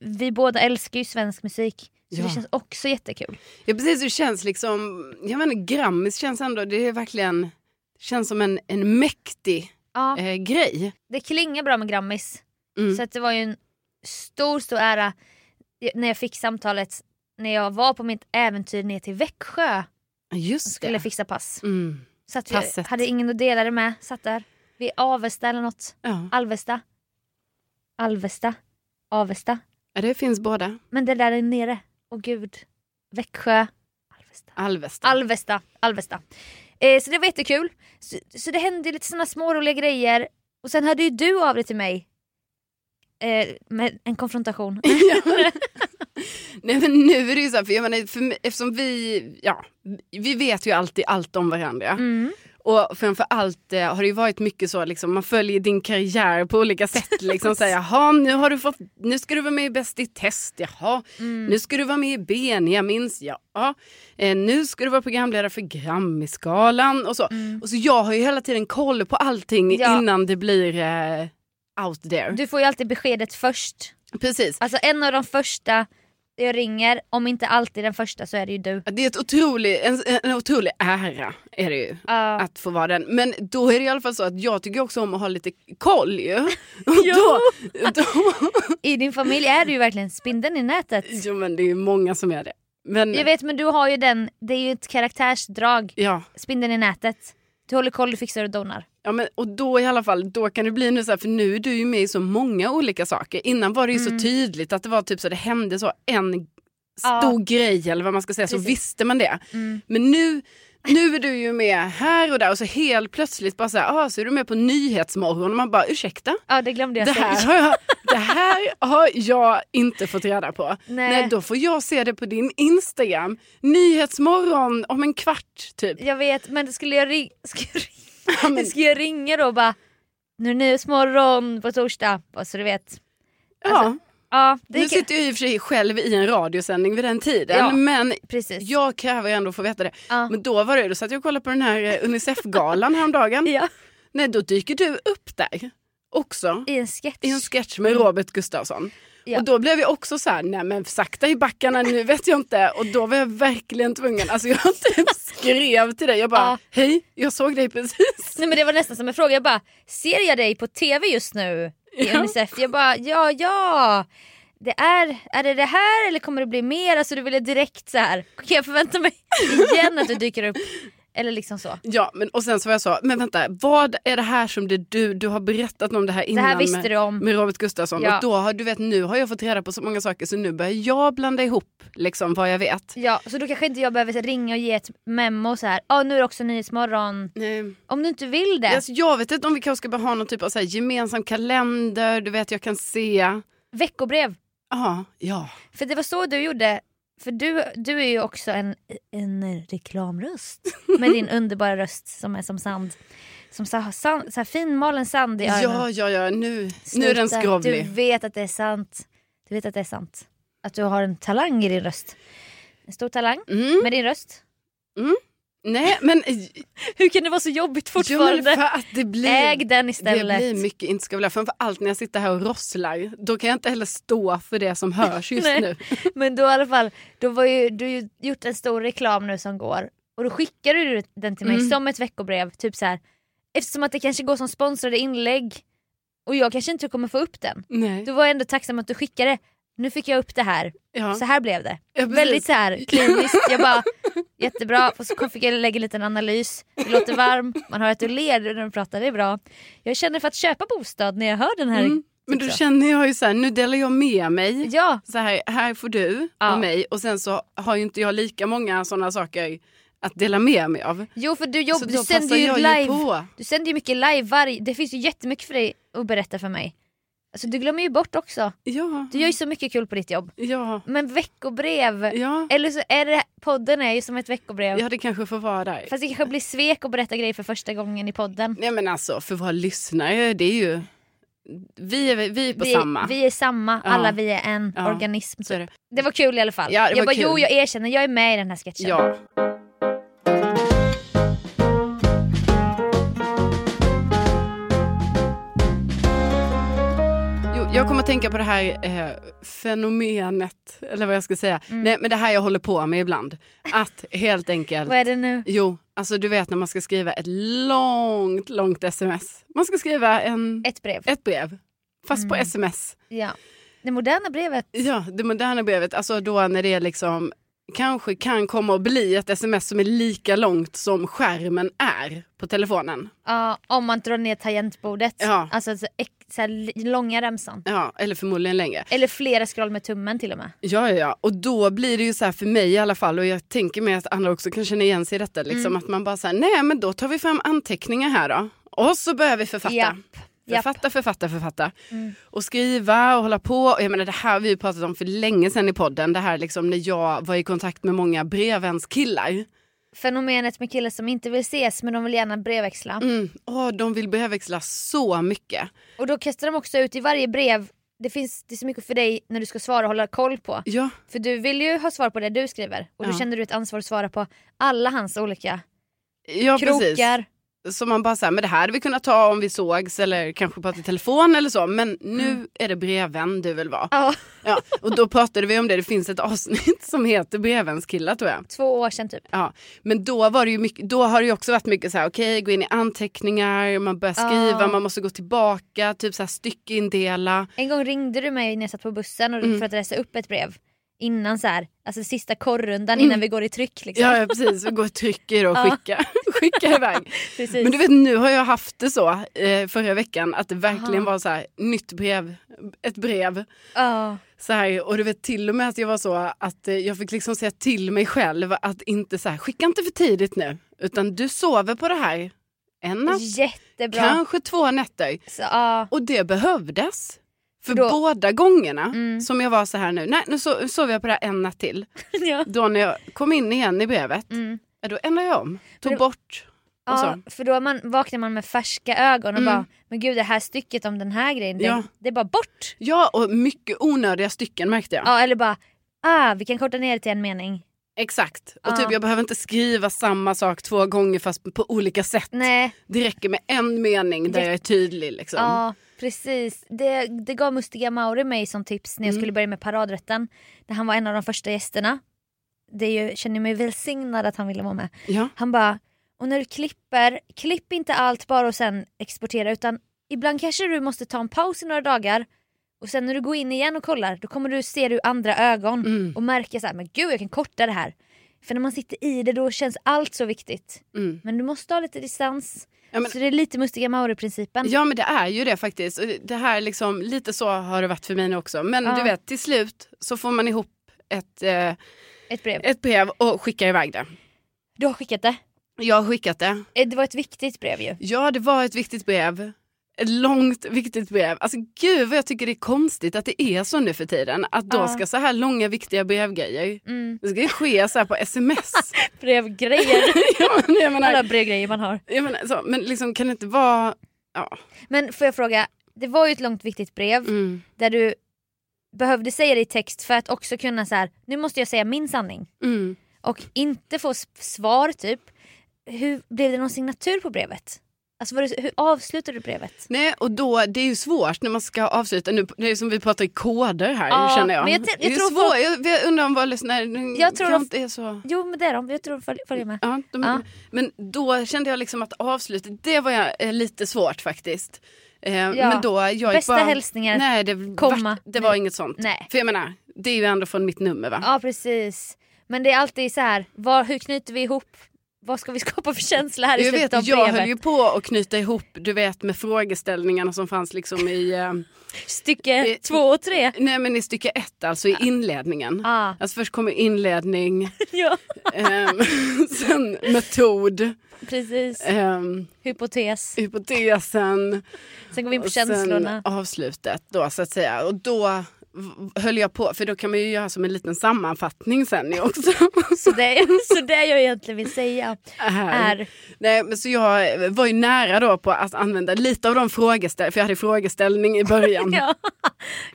[SPEAKER 1] vi båda älskar ju svensk musik. Så
[SPEAKER 2] Ja.
[SPEAKER 1] det känns också jättekul.
[SPEAKER 2] Ja precis, det känns liksom, jag vet inte, Grammis känns ändå, det är verkligen, det känns som en, en mäktig
[SPEAKER 1] Ja,
[SPEAKER 2] eh, grej.
[SPEAKER 1] det klingar bra med Grammis.
[SPEAKER 2] Mm.
[SPEAKER 1] Så att det var ju en stor, stor ära när jag fick samtalet när jag var på mitt äventyr ner till Växjö
[SPEAKER 2] Ja,
[SPEAKER 1] och
[SPEAKER 2] Just
[SPEAKER 1] skulle
[SPEAKER 2] det.
[SPEAKER 1] fixa pass.
[SPEAKER 2] Mm.
[SPEAKER 1] Så att jag
[SPEAKER 2] Passet.
[SPEAKER 1] hade ingen att dela det med. Satt där vid Avesta eller något.
[SPEAKER 2] Ja.
[SPEAKER 1] Alvesta. Alvesta. Avesta.
[SPEAKER 2] ja, det finns båda.
[SPEAKER 1] Men det där är nere. Åh gud. Växjö. Alvesta.
[SPEAKER 2] Alvesta.
[SPEAKER 1] Alvesta. Alvesta. Eh, så det var jättekul. Så, så det hände ju lite såna små roliga grejer. Och sen hörde ju du av dig till mig. Eh, med en konfrontation.
[SPEAKER 2] Ja. Nej men nu är det ju så här, för jag menar, för, mig- eftersom vi, ja, vi vet ju alltid allt om varandra.
[SPEAKER 1] Mm.
[SPEAKER 2] Och framför allt eh, har det ju varit mycket så, liksom, man följer din karriär på olika sätt. Liksom, så här, jaha, nu, har du fått, nu ska du vara med i Bäst i test, jaha. Nu ska du vara med i Benjamins, ja. Eh, nu ska du vara programledare för Grammisgalan och så. Och så jag har ju hela tiden koll på allting
[SPEAKER 1] Ja.
[SPEAKER 2] innan det blir eh, out there.
[SPEAKER 1] Du får ju alltid beskedet först.
[SPEAKER 2] Precis.
[SPEAKER 1] Alltså en av de första jag ringer, om inte alltid den första så är det ju du.
[SPEAKER 2] Det är ett otrolig, en, en otrolig ära är det ju.
[SPEAKER 1] Ja.
[SPEAKER 2] att få vara den. Men då är det i alla fall så att jag tycker också om att ha lite koll ju. Och
[SPEAKER 1] Jo.
[SPEAKER 2] då, då,
[SPEAKER 1] I din familj är du ju verkligen spindeln i nätet.
[SPEAKER 2] jo men det är ju många som är det. Men,
[SPEAKER 1] Jag vet men du har ju den, det är ju ett karaktärsdrag,
[SPEAKER 2] ja,
[SPEAKER 1] spindeln i nätet. Du håller koll, du fixar och donar.
[SPEAKER 2] ja men, och då i alla fall, då kan det bli nu så här, för nu är du ju med i så många olika saker. Innan var det ju
[SPEAKER 1] Mm.
[SPEAKER 2] så tydligt att det var typ så det hände så en
[SPEAKER 1] Ja.
[SPEAKER 2] stor grej eller vad man ska säga, så
[SPEAKER 1] Precis.
[SPEAKER 2] visste man det.
[SPEAKER 1] Mm.
[SPEAKER 2] Men nu, nu är du ju med här och där och så helt plötsligt bara så här, ah, så är du med på Nyhetsmorgon och man bara ursäkta?
[SPEAKER 1] Ja det glömde jag
[SPEAKER 2] Det
[SPEAKER 1] säga.
[SPEAKER 2] här, har jag, det här har jag inte fått reda på.
[SPEAKER 1] Nej.
[SPEAKER 2] Nej. då får jag se det på din Instagram. Nyhetsmorgon om en kvart typ.
[SPEAKER 1] Jag vet men skulle jag, ring... ska jag, ring...
[SPEAKER 2] Ja, men,
[SPEAKER 1] ska jag ringa då och bara nu är det Nyhetsmorgon på torsdag, bara så du vet.
[SPEAKER 2] ja.
[SPEAKER 1] Ja, Alltså, det
[SPEAKER 2] Nu
[SPEAKER 1] kan-
[SPEAKER 2] sitter jag i och för sig själv i en radiosändning vid den tiden
[SPEAKER 1] Ja.
[SPEAKER 2] men
[SPEAKER 1] Precis.
[SPEAKER 2] jag kräver ändå att få veta det.
[SPEAKER 1] Ja.
[SPEAKER 2] Men då var det då satt jag och kollade på den här eh, Unicef-galan häromdagen.
[SPEAKER 1] Ja.
[SPEAKER 2] Nej, då dyker du upp där också
[SPEAKER 1] I en sketch.
[SPEAKER 2] i en sketch med Robert Gustafsson.
[SPEAKER 1] Mm. Ja.
[SPEAKER 2] Och då blev jag också så här, nej men sakta i backarna nu vet jag inte. Och då var jag verkligen tvungen, alltså jag typ skrev till dig, jag bara
[SPEAKER 1] Ja.
[SPEAKER 2] hej, jag såg dig precis.
[SPEAKER 1] Nej men det var nästan som en fråga, jag bara ser jag dig på TV just nu i
[SPEAKER 2] Ja.
[SPEAKER 1] Unicef? Jag bara ja ja. Det är, är det det här eller kommer det bli mer? Alltså du ville direkt så här. kan jag förvänta mig igen att du dyker upp? Eller liksom så.
[SPEAKER 2] Ja, men, och sen så var jag så, men vänta, vad är det här som det du, du har berättat om det här
[SPEAKER 1] Det
[SPEAKER 2] innan
[SPEAKER 1] här visste
[SPEAKER 2] med,
[SPEAKER 1] du om.
[SPEAKER 2] med Robert Gustafsson?
[SPEAKER 1] Ja.
[SPEAKER 2] Och då har, du vet nu har jag fått reda på så många saker så nu börjar jag blanda ihop liksom vad jag vet.
[SPEAKER 1] Ja, så då kanske inte jag behöver ringa och ge ett memo så här. Ja nu är det också Nyhetsmorgon.
[SPEAKER 2] Nej.
[SPEAKER 1] Om du inte vill det,
[SPEAKER 2] Alltså, jag vet inte om vi kanske ska bara ha någon typ av så här, gemensam kalender, du vet jag kan se.
[SPEAKER 1] veckobrev.
[SPEAKER 2] Ja, ja.
[SPEAKER 1] För det var så du gjorde. För du, du är ju också en, en reklamröst med din underbara röst som är som sand. Som så, här- sand, så här finmalen sand i öronen.
[SPEAKER 2] Ja, ja, ja. Nu, nu är den
[SPEAKER 1] Sluta.
[SPEAKER 2] skrovlig.
[SPEAKER 1] Du vet att det är sant. Du vet att det är sant. Att du har en talang i din röst. En stor talang
[SPEAKER 2] Mm.
[SPEAKER 1] med din röst.
[SPEAKER 2] Nej, men,
[SPEAKER 1] Hur kan det vara så jobbigt
[SPEAKER 2] jo, men
[SPEAKER 1] fortfarande?
[SPEAKER 2] för att det blir,
[SPEAKER 1] Äg den
[SPEAKER 2] det
[SPEAKER 1] istället.
[SPEAKER 2] blir mycket inte ska vilja. Framförallt när jag sitter här och rosslar. Då kan jag inte heller stå för det som hörs just
[SPEAKER 1] Nej.
[SPEAKER 2] nu.
[SPEAKER 1] Men då i alla fall, då var ju, du har ju gjort en stor reklam nu som går och då skickade du den till mig
[SPEAKER 2] Mm.
[SPEAKER 1] som ett veckobrev. Typ så här, eftersom att det kanske går som sponsrade inlägg och jag kanske inte kommer få upp den.
[SPEAKER 2] Nej.
[SPEAKER 1] Då var jag ändå tacksam att du skickade. Nu fick jag upp det här,
[SPEAKER 2] Ja.
[SPEAKER 1] så här blev det.
[SPEAKER 2] Ja, precis.
[SPEAKER 1] Väldigt så här kliniskt, jag bara jättebra. Och så kom- fick jag lägga en liten analys. Du låter varm, man hör att du ler när du pratar, det är bra. Jag känner för att köpa bostad när jag hör den här.
[SPEAKER 2] Mm. Men då
[SPEAKER 1] också.
[SPEAKER 2] känner jag ju så här, nu delar jag med mig.
[SPEAKER 1] Ja,
[SPEAKER 2] Så här, här får du
[SPEAKER 1] Ja.
[SPEAKER 2] och mig och sen så har ju inte jag lika många sådana saker att dela med mig av.
[SPEAKER 1] jo för du, jobb,
[SPEAKER 2] så
[SPEAKER 1] du
[SPEAKER 2] då
[SPEAKER 1] sänder
[SPEAKER 2] passar
[SPEAKER 1] ju
[SPEAKER 2] jag
[SPEAKER 1] live.
[SPEAKER 2] ju på.
[SPEAKER 1] Du sänder ju mycket live varje, det finns ju jättemycket för dig att berätta för mig. Alltså du glömmer ju bort också.
[SPEAKER 2] Ja,
[SPEAKER 1] Du gör ju så mycket kul på ditt jobb.
[SPEAKER 2] ja,
[SPEAKER 1] Men veckobrev,
[SPEAKER 2] ja.
[SPEAKER 1] eller så är det, podden är ju som ett veckobrev.
[SPEAKER 2] ja, det kanske får vara där.
[SPEAKER 1] Fast det kanske blir svek att berätta grejer för första gången i podden.
[SPEAKER 2] Nej men alltså för våra lyssnare, det är ju... Vi är, vi är på
[SPEAKER 1] Vi,
[SPEAKER 2] samma.
[SPEAKER 1] vi är samma,
[SPEAKER 2] Ja.
[SPEAKER 1] alla vi är en
[SPEAKER 2] Ja,
[SPEAKER 1] organism.
[SPEAKER 2] Så är det.
[SPEAKER 1] Det var kul i alla fall.
[SPEAKER 2] Ja, det
[SPEAKER 1] jag
[SPEAKER 2] var
[SPEAKER 1] bara
[SPEAKER 2] kul.
[SPEAKER 1] jo jag erkänner, jag är med i den här sketchen.
[SPEAKER 2] Ja. Jo, jag kommer att tänka på det här eh, fenomenet, eller vad jag ska säga.
[SPEAKER 1] Mm.
[SPEAKER 2] Nej, men det här jag håller på med ibland. Att helt enkelt...
[SPEAKER 1] Vad är det nu?
[SPEAKER 2] Jo, alltså du vet när man ska skriva ett långt, långt sms. Man ska skriva en,
[SPEAKER 1] Ett Mm. brev.
[SPEAKER 2] ett brev, fast på sms.
[SPEAKER 1] Ja. Det moderna brevet.
[SPEAKER 2] Ja, det moderna brevet, alltså då när det är liksom kanske kan komma att bli ett sms som är lika långt som skärmen är på telefonen.
[SPEAKER 1] Ja, om man drar ner tangentbordet.
[SPEAKER 2] Ja.
[SPEAKER 1] Alltså så, ex- så här, långa remsan.
[SPEAKER 2] Ja, eller förmodligen längre.
[SPEAKER 1] Eller flera scroll med tummen till och med.
[SPEAKER 2] Ja, ja, ja. Och då blir det ju så här för mig i alla fall och jag tänker mig att andra också kan känna igen sig i detta. Liksom, Att man bara så här, nej men då tar vi fram anteckningar här då. Och så börjar vi författa.
[SPEAKER 1] Japp, japp.
[SPEAKER 2] Författa, författa, författa. Och skriva och hålla på. Och jag menar, det här har vi ju pratat om för länge sedan i podden. Det här liksom när jag var i kontakt med många brevvänskillar.
[SPEAKER 1] Fenomenet med killar som inte vill ses men de vill gärna brevväxla.
[SPEAKER 2] Mm. Åh, de vill brevväxla så mycket.
[SPEAKER 1] Och då kastar de också ut i varje brev, det finns det är så mycket för dig när du ska svara och hålla koll på.
[SPEAKER 2] Ja,
[SPEAKER 1] För du vill ju ha svar på det du skriver och då
[SPEAKER 2] Ja.
[SPEAKER 1] känner du ett ansvar att svara på alla hans olika
[SPEAKER 2] ja precis.
[SPEAKER 1] krokar.
[SPEAKER 2] Så man bara säger, men det här hade vi kunnat ta om vi sågs eller kanske prata i telefon eller så. Men nu
[SPEAKER 1] Mm.
[SPEAKER 2] är det brevvän du vill vara.
[SPEAKER 1] Ja,
[SPEAKER 2] Ja, och då pratade vi om det, det finns ett avsnitt som heter brevvänskillar tror jag.
[SPEAKER 1] två år sedan typ.
[SPEAKER 2] Ja, men då, var det ju mycket, då har det ju också varit mycket så här, okej gå in i anteckningar, man börjar skriva,
[SPEAKER 1] Ah.
[SPEAKER 2] man måste gå tillbaka, typ så här styckeindela.
[SPEAKER 1] En gång ringde du mig när jag satt på bussen
[SPEAKER 2] Mm.
[SPEAKER 1] och, för att läsa upp ett brev. Innan så här, alltså sista korrundan innan vi går i tryck. Liksom.
[SPEAKER 2] Mm. Ja, ja precis, vi går och trycker och
[SPEAKER 1] Ah.
[SPEAKER 2] skickar, skickar iväg.
[SPEAKER 1] Precis.
[SPEAKER 2] Men du vet nu har jag haft det så eh, förra veckan att det verkligen
[SPEAKER 1] Aha.
[SPEAKER 2] var så här nytt brev, ett brev.
[SPEAKER 1] Ja.
[SPEAKER 2] Så här, och du vet till och med att jag var så att eh, jag fick liksom säga till mig själv att inte så här, skicka inte för tidigt nu utan du sover på det här en natt,
[SPEAKER 1] Jättebra.
[SPEAKER 2] kanske två nätter.
[SPEAKER 1] Så, ja.
[SPEAKER 2] Och det behövdes. För
[SPEAKER 1] Då-
[SPEAKER 2] båda gångerna
[SPEAKER 1] Mm.
[SPEAKER 2] som jag var så här nu, nej nu so- sover jag på det här en natt till.
[SPEAKER 1] ja.
[SPEAKER 2] Då när jag kom in igen i brevet,
[SPEAKER 1] Mm.
[SPEAKER 2] ja, då ändrade jag om, tog
[SPEAKER 1] det-
[SPEAKER 2] bort och så.
[SPEAKER 1] för då är man, vaknar man med färska ögon och
[SPEAKER 2] Mm.
[SPEAKER 1] bara men gud det här stycket om den här grejen,
[SPEAKER 2] Ja.
[SPEAKER 1] det, det är bara bort.
[SPEAKER 2] Ja, och mycket onödiga stycken märkte jag.
[SPEAKER 1] Ja, eller bara ah, vi kan korta ner det till en mening.
[SPEAKER 2] Exakt. Och
[SPEAKER 1] Ja.
[SPEAKER 2] typ jag behöver inte skriva samma sak två gånger fast på olika sätt.
[SPEAKER 1] Nej,
[SPEAKER 2] Det räcker med en mening där jag är tydlig liksom.
[SPEAKER 1] ja precis. Det, det gav Mustiga Mauri mig som tips när jag
[SPEAKER 2] Mm.
[SPEAKER 1] skulle börja med paradrätten. Där han var en av de första gästerna. Det är ju, känner jag mig välsignad att han ville vara med.
[SPEAKER 2] Ja.
[SPEAKER 1] Han bara, och när du klipper, klipp inte allt bara och sen exportera utan ibland kanske du måste ta en paus i några dagar och sen när du går in igen och kollar då kommer du se det ur andra ögon
[SPEAKER 2] Mm.
[SPEAKER 1] och märka så här, men gud jag kan korta det här. För när man sitter i det då känns allt så viktigt.
[SPEAKER 2] Mm.
[SPEAKER 1] Men du måste ha lite distans.
[SPEAKER 2] Ja, men-
[SPEAKER 1] så det är lite Mustiga Mauri-principen.
[SPEAKER 2] ja men det är ju det faktiskt. Och Det här liksom, lite så har det varit för mig nu också. Men
[SPEAKER 1] Ja.
[SPEAKER 2] du vet till slut så får man ihop ett, eh,
[SPEAKER 1] Ett brev.
[SPEAKER 2] ett brev och skickar iväg det.
[SPEAKER 1] Du har skickat det.
[SPEAKER 2] Jag har skickat det.
[SPEAKER 1] Eh, Det var ett viktigt brev ju.
[SPEAKER 2] Ja det var ett viktigt brev. Ett långt viktigt brev. Alltså gud vad jag tycker det är konstigt att det är så nu för tiden. Att då
[SPEAKER 1] Ja.
[SPEAKER 2] ska så här långa viktiga brevgrejer.
[SPEAKER 1] Mm.
[SPEAKER 2] Det ska ju ske så här på sms.
[SPEAKER 1] Brevgrejer.
[SPEAKER 2] ja, men jag menar,
[SPEAKER 1] Alla brevgrejer man har.
[SPEAKER 2] jag menar, så, men liksom, kan det inte vara... Ja.
[SPEAKER 1] Men får jag fråga, det var ju ett långt viktigt brev.
[SPEAKER 2] Mm.
[SPEAKER 1] där du behövde säga det i text för att också kunna så här, nu måste jag säga min sanning
[SPEAKER 2] Mm.
[SPEAKER 1] och inte få s- svar typ. Hur blev det någon signatur på brevet? Alltså var det, hur avslutade du brevet?
[SPEAKER 2] Nej, och då, det är ju svårt när man ska avsluta. Nu, det är som vi pratar i koder här,
[SPEAKER 1] Ja,
[SPEAKER 2] känner jag.
[SPEAKER 1] men jag t- jag
[SPEAKER 2] det är
[SPEAKER 1] tror
[SPEAKER 2] svårt. Jag, jag undrar om våra lyssnare...
[SPEAKER 1] Jag tror
[SPEAKER 2] kanske
[SPEAKER 1] de-
[SPEAKER 2] inte är så...
[SPEAKER 1] Jo men det är de, jag tror de följ- följer med.
[SPEAKER 2] Ja, de,
[SPEAKER 1] Ja.
[SPEAKER 2] Men då kände jag liksom att avslutet, det var jag, eh, lite svårt faktiskt. Eh, Men då, jag gick
[SPEAKER 1] Bästa
[SPEAKER 2] bara,
[SPEAKER 1] hälsningar.
[SPEAKER 2] Nej, det,
[SPEAKER 1] komma.
[SPEAKER 2] vart, det var
[SPEAKER 1] Nej.
[SPEAKER 2] inget sånt.
[SPEAKER 1] Nej.
[SPEAKER 2] För jag menar, det är ju ändå från mitt nummer va?
[SPEAKER 1] Ja precis. Men det är alltid så här, vad, hur knyter vi ihop, vad ska vi skapa för känsla här i
[SPEAKER 2] Jag
[SPEAKER 1] slutet
[SPEAKER 2] vet,
[SPEAKER 1] av
[SPEAKER 2] jag
[SPEAKER 1] brevet?
[SPEAKER 2] höll ju på att knyta ihop du vet, med frågeställningarna som fanns liksom i, eh,
[SPEAKER 1] Stycke
[SPEAKER 2] Eh,
[SPEAKER 1] två och tre.
[SPEAKER 2] nej, men i stycke ett, alltså i inledningen.
[SPEAKER 1] Ah,
[SPEAKER 2] Alltså först kommer inledning,
[SPEAKER 1] ja
[SPEAKER 2] ehm, sen metod,
[SPEAKER 1] precis.
[SPEAKER 2] ehm,
[SPEAKER 1] Hypotes.
[SPEAKER 2] hypotesen
[SPEAKER 1] Sen går vi in på
[SPEAKER 2] och sen
[SPEAKER 1] känslorna.
[SPEAKER 2] avslutet då så att säga. Och då v- höll jag på, för då kan man ju göra som en liten sammanfattning sen ju också.
[SPEAKER 1] Så det, så det jag egentligen vill säga
[SPEAKER 2] Här.
[SPEAKER 1] är
[SPEAKER 2] Nej, men så jag var ju nära då på att använda lite av de frågeställningar, för jag hade frågeställning i början.
[SPEAKER 1] Ja.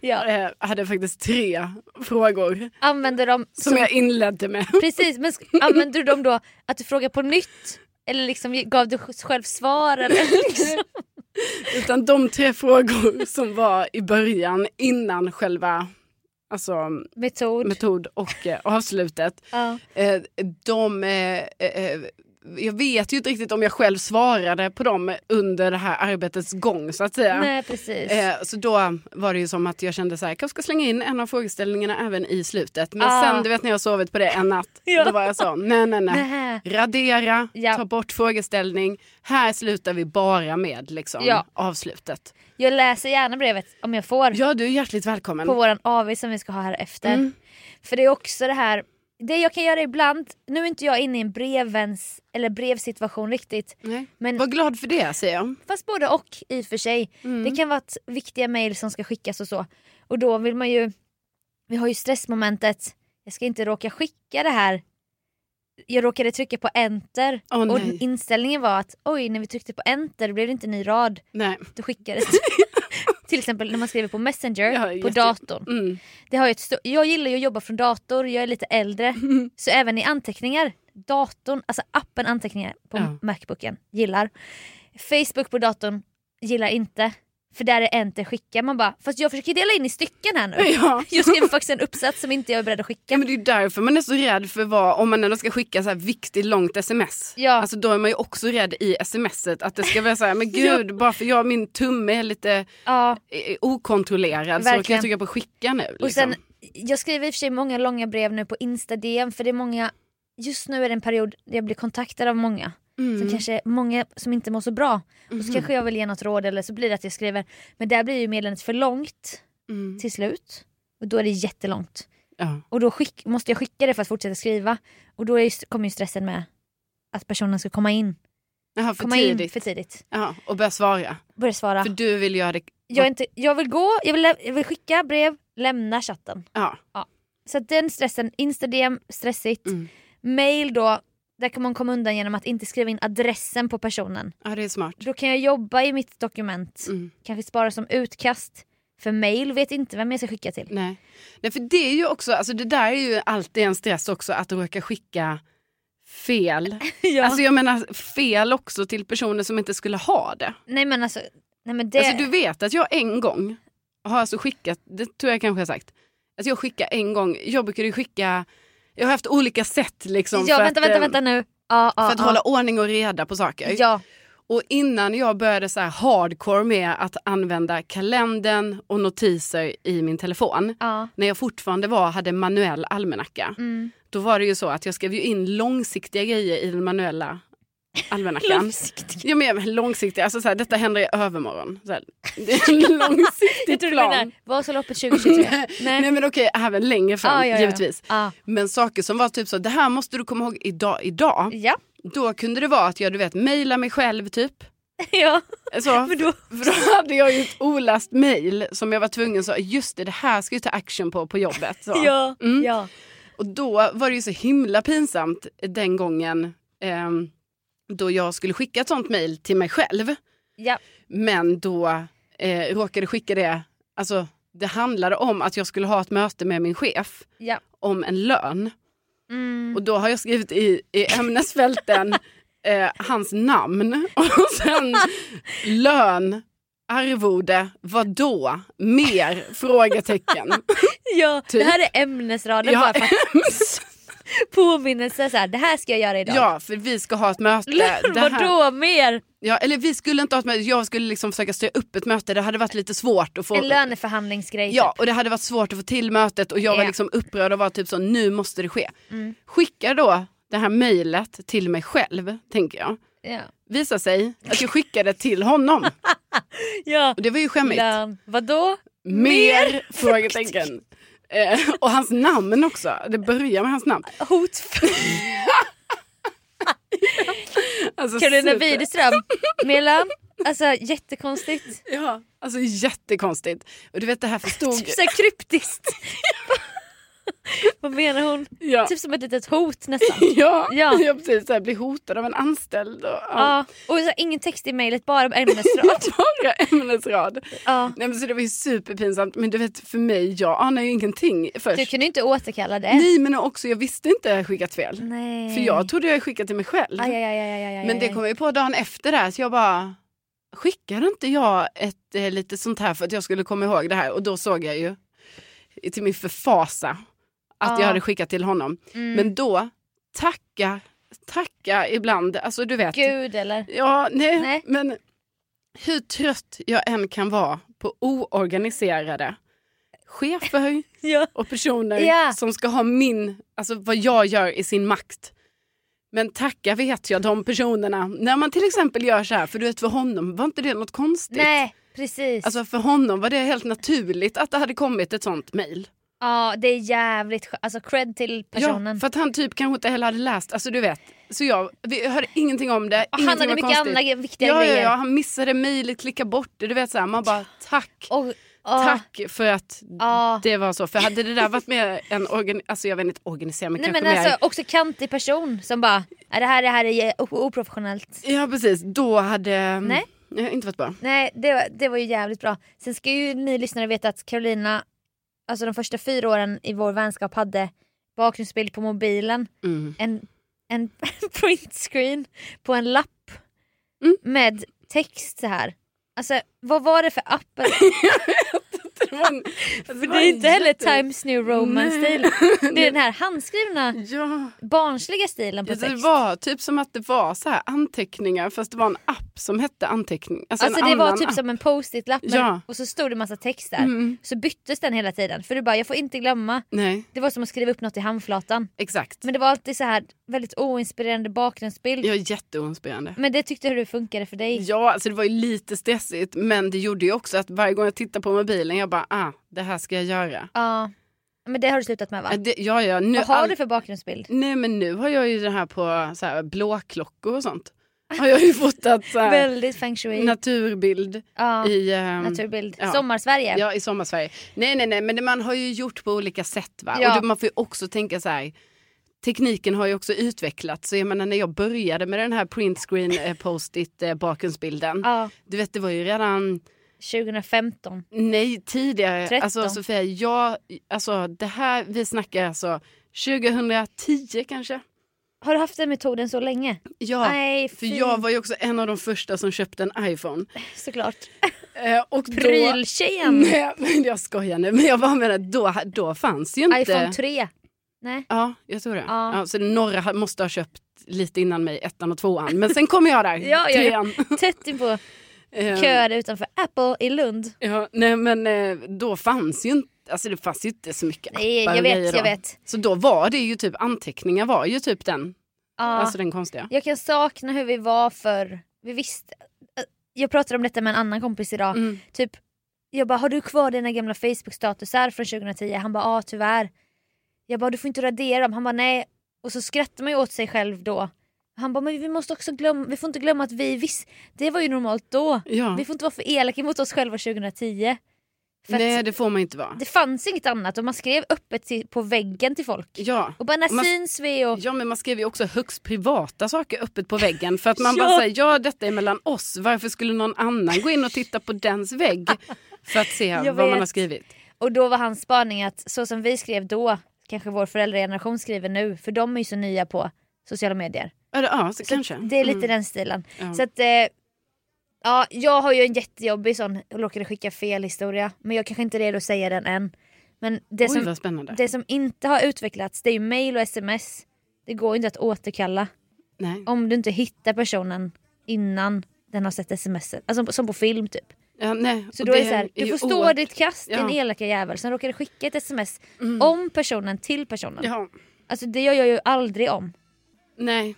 [SPEAKER 1] ja.
[SPEAKER 2] eh, hade faktiskt tre frågor
[SPEAKER 1] Använder de
[SPEAKER 2] som jag inledde med.
[SPEAKER 1] Precis, men sk- använder du dem då att du frågar på nytt? Eller liksom ge- gav du sj- själv svar? Eller liksom?
[SPEAKER 2] Utan de tre frågor som var i början innan själva alltså,
[SPEAKER 1] Metod?
[SPEAKER 2] metod och eh, avslutet.
[SPEAKER 1] ja.
[SPEAKER 2] Eh, de, eh, eh, jag vet ju inte riktigt om jag själv svarade på dem under det här arbetets gång så att säga.
[SPEAKER 1] Nej precis.
[SPEAKER 2] Eh, Så då var det ju som att jag kände så här, jag kanske ska slänga in en av frågeställningarna även i slutet. Men
[SPEAKER 1] Ah.
[SPEAKER 2] sen, du vet när jag har sovit på det en natt,
[SPEAKER 1] Ja.
[SPEAKER 2] då var jag så, nej nej nej.
[SPEAKER 1] Nähä.
[SPEAKER 2] Radera,
[SPEAKER 1] Ja.
[SPEAKER 2] ta bort frågeställning. Här slutar vi bara med liksom,
[SPEAKER 1] Ja.
[SPEAKER 2] avslutet.
[SPEAKER 1] Jag läser gärna brevet om jag får
[SPEAKER 2] Ja, du är hjärtligt välkommen. Mm.
[SPEAKER 1] på våran AV som vi ska ha här efter. För det är också det här, det jag kan göra ibland, nu är inte jag inne i en brevens eller brevsituation riktigt.
[SPEAKER 2] Nej.
[SPEAKER 1] Men
[SPEAKER 2] Var glad för det, säger jag.
[SPEAKER 1] Fast både och i och för sig.
[SPEAKER 2] Mm.
[SPEAKER 1] Det kan vara att viktiga mejl som ska skickas och så. Och då vill man ju, vi har ju stressmomentet, jag ska inte råka skicka det här. Jag råkade trycka på enter
[SPEAKER 2] Åh,
[SPEAKER 1] och
[SPEAKER 2] nej.
[SPEAKER 1] inställningen var att oj när vi tryckte på enter blev det inte en ny rad.
[SPEAKER 2] Nej.
[SPEAKER 1] Då skickades Till exempel när man skriver på Messenger
[SPEAKER 2] Ja,
[SPEAKER 1] på
[SPEAKER 2] jätte-
[SPEAKER 1] datorn.
[SPEAKER 2] Mm.
[SPEAKER 1] Det har ju ett stö- jag gillar ju att jobba från dator, jag är lite äldre. Så även i anteckningar, datorn, alltså appen anteckningar på
[SPEAKER 2] Ja.
[SPEAKER 1] Macbooken gillar. Facebook på datorn gillar inte. För där är enter skicka. Man bara, fast jag försöker dela in i stycken här nu.
[SPEAKER 2] Ja.
[SPEAKER 1] Jag skriver faktiskt en uppsats som inte jag är beredd att
[SPEAKER 2] Ja,
[SPEAKER 1] skicka.
[SPEAKER 2] men det är ju därför man är så rädd för vad, om man ändå ska skicka så här viktigt långt sms.
[SPEAKER 1] Ja.
[SPEAKER 2] Alltså då är man ju också rädd i smset att det ska vara så här, men gud, bara för jag, min tumme är lite
[SPEAKER 1] Ja.
[SPEAKER 2] eh, okontrollerad så kan
[SPEAKER 1] Verkligen.
[SPEAKER 2] jag trycka på skicka nu.
[SPEAKER 1] Och
[SPEAKER 2] Liksom.
[SPEAKER 1] sen, jag skriver i och för sig många långa brev nu på Insta-DM för det är många, just nu är det en period där jag blir kontaktad av många.
[SPEAKER 2] Mm.
[SPEAKER 1] Som kanske många som inte mår så bra.
[SPEAKER 2] Mhm.
[SPEAKER 1] Och så kanske jag vill ge något råd eller så blir det att jag skriver, men där blir ju meddelandet för långt
[SPEAKER 2] Mm.
[SPEAKER 1] till slut. Och då är det jättelångt.
[SPEAKER 2] Ja.
[SPEAKER 1] Och då skick, måste jag skicka det för att fortsätta skriva. Och då är, ju- kommer ju stressen med att personen ska komma in.
[SPEAKER 2] Jaha, för
[SPEAKER 1] komma in
[SPEAKER 2] tidigt.
[SPEAKER 1] för tidigt.
[SPEAKER 2] Jaha, och börja svara.
[SPEAKER 1] Börja svara.
[SPEAKER 2] För du vill göra det...
[SPEAKER 1] Ah. jag, är inte, jag vill gå, jag vill, lä- jag vill skicka brev, lämna chatten.
[SPEAKER 2] Ja.
[SPEAKER 1] Så att den stressen, Insta-DM, stressigt.
[SPEAKER 2] Mm.
[SPEAKER 1] Mail då, Där kan man komma undan genom att inte skriva in adressen på personen.
[SPEAKER 2] Ja, det är smart.
[SPEAKER 1] Då kan jag jobba i mitt dokument.
[SPEAKER 2] Mm.
[SPEAKER 1] Kanske spara som utkast. För mail vet inte vem jag ska skicka till.
[SPEAKER 2] Nej. Nej, för det är ju också, alltså det där är ju alltid en stress också att råka skicka fel.
[SPEAKER 1] Ja.
[SPEAKER 2] Alltså jag menar fel också till personer som inte skulle ha det.
[SPEAKER 1] nej men alltså, nej men det...
[SPEAKER 2] Alltså du vet att jag en gång har alltså skickat, det tror jag kanske jag har sagt, alltså jag skickar en gång, jag brukar ju skicka, jag har haft olika sätt liksom
[SPEAKER 1] ja
[SPEAKER 2] för,
[SPEAKER 1] vänta
[SPEAKER 2] att,
[SPEAKER 1] vänta
[SPEAKER 2] eh,
[SPEAKER 1] vänta nu. Ja, ja,
[SPEAKER 2] för att
[SPEAKER 1] ja.
[SPEAKER 2] hålla ordning och reda på saker.
[SPEAKER 1] Ja,
[SPEAKER 2] Och innan jag började så här hardcore med att använda kalendern och notiser i min telefon,
[SPEAKER 1] ja.
[SPEAKER 2] när jag fortfarande var, hade manuell almanacka,
[SPEAKER 1] Mm.
[SPEAKER 2] då var det ju så att jag skrev ju in långsiktiga grejer i den manuella almanackan.
[SPEAKER 1] Långsiktigt.
[SPEAKER 2] Ja, men jag- långsiktiga, alltså så här, detta händer i övermorgon. Så här, det är en långsiktig
[SPEAKER 1] Jag trodde du
[SPEAKER 2] plan.
[SPEAKER 1] menade Vasaloppet 2023. Nej.
[SPEAKER 2] Nej men okej, även längre fram
[SPEAKER 1] Ja, ja, ja.
[SPEAKER 2] givetvis.
[SPEAKER 1] Ja.
[SPEAKER 2] Men saker som var typ så, det här måste du komma ihåg idag, idag.
[SPEAKER 1] Ja.
[SPEAKER 2] Då kunde det vara att jag du vet, mejla mig själv typ.
[SPEAKER 1] ja.
[SPEAKER 2] Så,
[SPEAKER 1] Men då,
[SPEAKER 2] för då hade jag ju ett oläst mejl som jag var tvungen så, just det, det här ska jag ta action på på jobbet. Så.
[SPEAKER 1] ja.
[SPEAKER 2] Mm.
[SPEAKER 1] ja.
[SPEAKER 2] Och då var det ju så himla pinsamt den gången ehm, då jag skulle skicka ett sånt mejl till mig själv.
[SPEAKER 1] Ja.
[SPEAKER 2] Men då eh, råkade skicka det, alltså det handlade om att jag skulle ha ett möte med min chef
[SPEAKER 1] Ja.
[SPEAKER 2] om en lön.
[SPEAKER 1] Mm.
[SPEAKER 2] Och då har jag skrivit i, i ämnesfälten eh, hans namn och sen lön, arvode, vadå, mer? Frågetecken.
[SPEAKER 1] ja.
[SPEAKER 2] typ.
[SPEAKER 1] Det här är ämnesraden
[SPEAKER 2] Ja,
[SPEAKER 1] bara för att påminnelse så här, det här ska jag göra idag.
[SPEAKER 2] Ja, för vi ska ha ett möte. Det här-
[SPEAKER 1] Vadå mer?
[SPEAKER 2] Ja, eller vi skulle inte ha ett möte, jag skulle liksom försöka styra upp ett möte. Det hade varit lite svårt att få...
[SPEAKER 1] En löneförhandlingsgrej
[SPEAKER 2] Ja,
[SPEAKER 1] typ.
[SPEAKER 2] och det hade varit svårt att få till mötet och jag var
[SPEAKER 1] Ja.
[SPEAKER 2] liksom upprörd och var typ så, nu måste det ske.
[SPEAKER 1] Mm.
[SPEAKER 2] Skicka då det här mejlet till mig själv, tänker jag.
[SPEAKER 1] typ. Ja.
[SPEAKER 2] Visar sig att jag skickade till honom.
[SPEAKER 1] ja.
[SPEAKER 2] Och det var ju skämmigt.
[SPEAKER 1] Lön. Vadå?
[SPEAKER 2] Mer? Frågetecken. Eh, och hans namn också. Det börjar med hans namn.
[SPEAKER 1] Hot.
[SPEAKER 2] Alltså,
[SPEAKER 1] Karolina
[SPEAKER 2] super-
[SPEAKER 1] Widerström. Mer lön. Alltså jättekonstigt.
[SPEAKER 2] Ja, alltså jättekonstigt. Och du vet det här förstod...
[SPEAKER 1] Typ såhär kryptiskt. Vad menar hon?
[SPEAKER 2] Ja.
[SPEAKER 1] Typ som ett litet hot nästan.
[SPEAKER 2] Ja, ja.
[SPEAKER 1] Ja.
[SPEAKER 2] precis. Så här, bli hotad av en anställd. Och, ja.
[SPEAKER 1] Ja. Och så här, ingen text i mejlet, bara ämnesrad.
[SPEAKER 2] Bara ämnesrad.
[SPEAKER 1] Ja.
[SPEAKER 2] Nej, men så det var ju superpinsamt. Men du vet, för mig, jag anar ju ingenting först.
[SPEAKER 1] Du kunde ju inte återkalla det.
[SPEAKER 2] Nej, men också jag visste inte att jag hade skickat fel.
[SPEAKER 1] Nej.
[SPEAKER 2] För jag trodde jag hade skickat till mig själv.
[SPEAKER 1] Aj, aj, aj, aj, aj, aj,
[SPEAKER 2] Men det
[SPEAKER 1] aj.
[SPEAKER 2] kom jag ju på dagen efter där, så jag bara... Skickade inte jag ett eh, lite sånt här för att jag skulle komma ihåg det här? Och då såg jag ju till min förfasa att
[SPEAKER 1] Ja.
[SPEAKER 2] jag hade skickat till honom.
[SPEAKER 1] Mm.
[SPEAKER 2] Men då, tacka, tacka ibland. Alltså du vet.
[SPEAKER 1] Gud eller?
[SPEAKER 2] Ja, nej,
[SPEAKER 1] Nej.
[SPEAKER 2] men hur trött jag än kan vara på oorganiserade chefer
[SPEAKER 1] Ja.
[SPEAKER 2] och personer
[SPEAKER 1] Ja.
[SPEAKER 2] som ska ha min, alltså vad jag gör i sin makt. Men tacka vet jag de personerna. När man till exempel gör så här, för du vet för honom var inte det något konstigt.
[SPEAKER 1] Nej, precis.
[SPEAKER 2] Alltså för honom var det helt naturligt att det hade kommit ett sånt mejl.
[SPEAKER 1] ja, det är jävligt skönt. Alltså cred till
[SPEAKER 2] Ja,
[SPEAKER 1] personen.
[SPEAKER 2] för att han typ kanske inte heller hade läst, alltså du vet. Så jag, vi hörde ingenting om det,
[SPEAKER 1] Och
[SPEAKER 2] ingenting
[SPEAKER 1] han hade
[SPEAKER 2] var
[SPEAKER 1] mycket
[SPEAKER 2] konstigt.
[SPEAKER 1] andra gre- viktiga
[SPEAKER 2] Ja, ja,
[SPEAKER 1] grejer.
[SPEAKER 2] ja, han missade mejlet, klickade bort det. Du vet så här, man bara tack.
[SPEAKER 1] Och, ja,
[SPEAKER 2] Tack för att
[SPEAKER 1] ja.
[SPEAKER 2] det var så. För hade det där varit mer en organ... Alltså jag vet inte, organisera men
[SPEAKER 1] Nej
[SPEAKER 2] kanske
[SPEAKER 1] men
[SPEAKER 2] mer...
[SPEAKER 1] alltså också kantig person som bara, "Nej, det här, det här är o- oprofessionellt.
[SPEAKER 2] Ja precis, då hade...
[SPEAKER 1] Nej.
[SPEAKER 2] Ja, inte varit bra.
[SPEAKER 1] Nej det, var- det var ju jävligt bra. Sen ska ju ni lyssnare veta att Carolina, alltså de första fyra åren i vår vänskap hade bakgrundsbild på mobilen,
[SPEAKER 2] Mm.
[SPEAKER 1] en, en printscreen på en lapp
[SPEAKER 2] Mm.
[SPEAKER 1] med text så här. Alltså vad var det för app?
[SPEAKER 2] Det var en-
[SPEAKER 1] För
[SPEAKER 2] alltså,
[SPEAKER 1] det är inte heller
[SPEAKER 2] jätte-
[SPEAKER 1] Times New Roman stil. Det är den här handskrivna
[SPEAKER 2] Ja,
[SPEAKER 1] barnsliga stilen på
[SPEAKER 2] Ja, det
[SPEAKER 1] text.
[SPEAKER 2] var typ som att det var så här anteckningar fast det var en app som hette anteckning. Alltså,
[SPEAKER 1] Alltså
[SPEAKER 2] en
[SPEAKER 1] det var
[SPEAKER 2] annan
[SPEAKER 1] typ
[SPEAKER 2] app.
[SPEAKER 1] som en post-it-lapp men-
[SPEAKER 2] Ja.
[SPEAKER 1] och så stod det massa text där.
[SPEAKER 2] Mm.
[SPEAKER 1] Så byttes den hela tiden för du bara jag får inte glömma.
[SPEAKER 2] Nej,
[SPEAKER 1] Det var som att skriva upp något i handflatan.
[SPEAKER 2] exakt.
[SPEAKER 1] Men det var alltid så här väldigt oinspirerande bakgrundsbild.
[SPEAKER 2] Jag är jätteoinspirerande.
[SPEAKER 1] Men det tyckte du funkade för dig.
[SPEAKER 2] Ja, alltså det var ju lite stressigt men det gjorde ju också att varje gång jag tittar på mobilen jag bara ah, det här ska jag göra.
[SPEAKER 1] Ja. Men det har du slutat med va?
[SPEAKER 2] Äh, Det, ja, ja, nu
[SPEAKER 1] Vad har
[SPEAKER 2] all-
[SPEAKER 1] du för bakgrundsbild?
[SPEAKER 2] Nej men nu har jag ju det här på så här, blåklockor och sånt. Har jag ju fotat så här,
[SPEAKER 1] Väldigt feng shui.
[SPEAKER 2] naturbild
[SPEAKER 1] ja.
[SPEAKER 2] i, ehm,
[SPEAKER 1] Naturbild.
[SPEAKER 2] ja.
[SPEAKER 1] Sommarsverige.
[SPEAKER 2] ja, i sommarsverige. Nej nej nej men det- man har ju gjort på olika sätt va.
[SPEAKER 1] Ja.
[SPEAKER 2] Och då, man får ju också tänka så här. tekniken har ju också utvecklats. Så jag menar när jag började med den här printscreen eh, post-it eh, bakgrundsbilden.
[SPEAKER 1] Ja,
[SPEAKER 2] Du vet det var ju redan,
[SPEAKER 1] 2015.
[SPEAKER 2] nej tidigare.
[SPEAKER 1] 13.
[SPEAKER 2] Alltså Sofia, jag, alltså det här, vi snackar alltså 2010 kanske.
[SPEAKER 1] Har du haft den metoden så länge?
[SPEAKER 2] Ja,
[SPEAKER 1] Nej,
[SPEAKER 2] för
[SPEAKER 1] fy.
[SPEAKER 2] jag var ju också en av de första som köpte en iPhone.
[SPEAKER 1] Såklart.
[SPEAKER 2] Eh, och då,
[SPEAKER 1] Pryltjejen.
[SPEAKER 2] Nej, men jag skojar nu. Men jag bara menar, då, då fanns ju inte...
[SPEAKER 1] iPhone 3. Nej.
[SPEAKER 2] Ja, jag tror det.
[SPEAKER 1] Ja.
[SPEAKER 2] Ja. så några ha- måste ha köpt lite innan mig, ettan och tvåan. Men sen kommer jag där,
[SPEAKER 1] Ja, ja, ja.
[SPEAKER 2] trean.
[SPEAKER 1] Tätt in på
[SPEAKER 2] Eh,
[SPEAKER 1] köer utanför Apple i Lund.
[SPEAKER 2] Ehm, Ja, nej, men eh, då fanns ju inte... Alltså det fanns ju inte så mycket
[SPEAKER 1] Nej,
[SPEAKER 2] appar
[SPEAKER 1] jag
[SPEAKER 2] och grejer
[SPEAKER 1] vet,
[SPEAKER 2] då.
[SPEAKER 1] jag vet.
[SPEAKER 2] Så då var det ju typ anteckningar var ju typ den,
[SPEAKER 1] Ja.
[SPEAKER 2] alltså den konstiga.
[SPEAKER 1] Jag kan sakna hur vi var för Vi visste... Jag pratade om detta med en annan kompis idag.
[SPEAKER 2] Mm.
[SPEAKER 1] Typ, jag bara, har du kvar dina gamla Facebook-statusar från 2010? Han bara, ja tyvärr. Jag bara, du får inte radera dem. Han bara, nej. Och så skrattar man ju åt sig själv då. Han bara, men vi måste också glömma, vi får inte glömma att vi visst, det var ju normalt då.
[SPEAKER 2] Ja.
[SPEAKER 1] Vi får inte vara för elaka mot oss själva 2010. För
[SPEAKER 2] Nej,
[SPEAKER 1] att
[SPEAKER 2] det får man inte vara.
[SPEAKER 1] det fanns inget annat och man skrev öppet till, på väggen till folk.
[SPEAKER 2] Ja.
[SPEAKER 1] Och bara, när
[SPEAKER 2] Man-
[SPEAKER 1] syns vi? Och,
[SPEAKER 2] Ja men man skrev ju också högst privata saker öppet på väggen för att man
[SPEAKER 1] Ja.
[SPEAKER 2] bara säger ja detta är mellan oss, varför skulle någon annan gå in och titta på dens vägg för att se
[SPEAKER 1] Jag
[SPEAKER 2] vad man
[SPEAKER 1] vet.
[SPEAKER 2] har skrivit?
[SPEAKER 1] och då var hans spaning att så som vi skrev då, kanske vår föräldrageneration skriver nu, för de är ju så nya på sociala medier.
[SPEAKER 2] Eller, ja, så kanske.
[SPEAKER 1] Det är lite
[SPEAKER 2] Mm.
[SPEAKER 1] den stilen.
[SPEAKER 2] Ja.
[SPEAKER 1] Så att, eh, ja, jag har ju en jättejobbig sån, jag råkade skicka fel historia. Men jag kanske inte är redo att säga den än. Men det,
[SPEAKER 2] Oj
[SPEAKER 1] som,
[SPEAKER 2] vad spännande.
[SPEAKER 1] det som inte har utvecklats det är ju mail och sms. Det går ju inte att återkalla.
[SPEAKER 2] Nej.
[SPEAKER 1] Om du inte hittar personen innan den har sett smset. Alltså som på film typ.
[SPEAKER 2] Ja, nej.
[SPEAKER 1] Så
[SPEAKER 2] och
[SPEAKER 1] då är det så här, du får
[SPEAKER 2] ju
[SPEAKER 1] stå
[SPEAKER 2] oerhört-
[SPEAKER 1] ditt kast din
[SPEAKER 2] Ja. Mm.
[SPEAKER 1] elaka jävel. Sen råkade skicka ett sms om personen till personen.
[SPEAKER 2] Ja,
[SPEAKER 1] Alltså det gör jag ju aldrig om.
[SPEAKER 2] nej.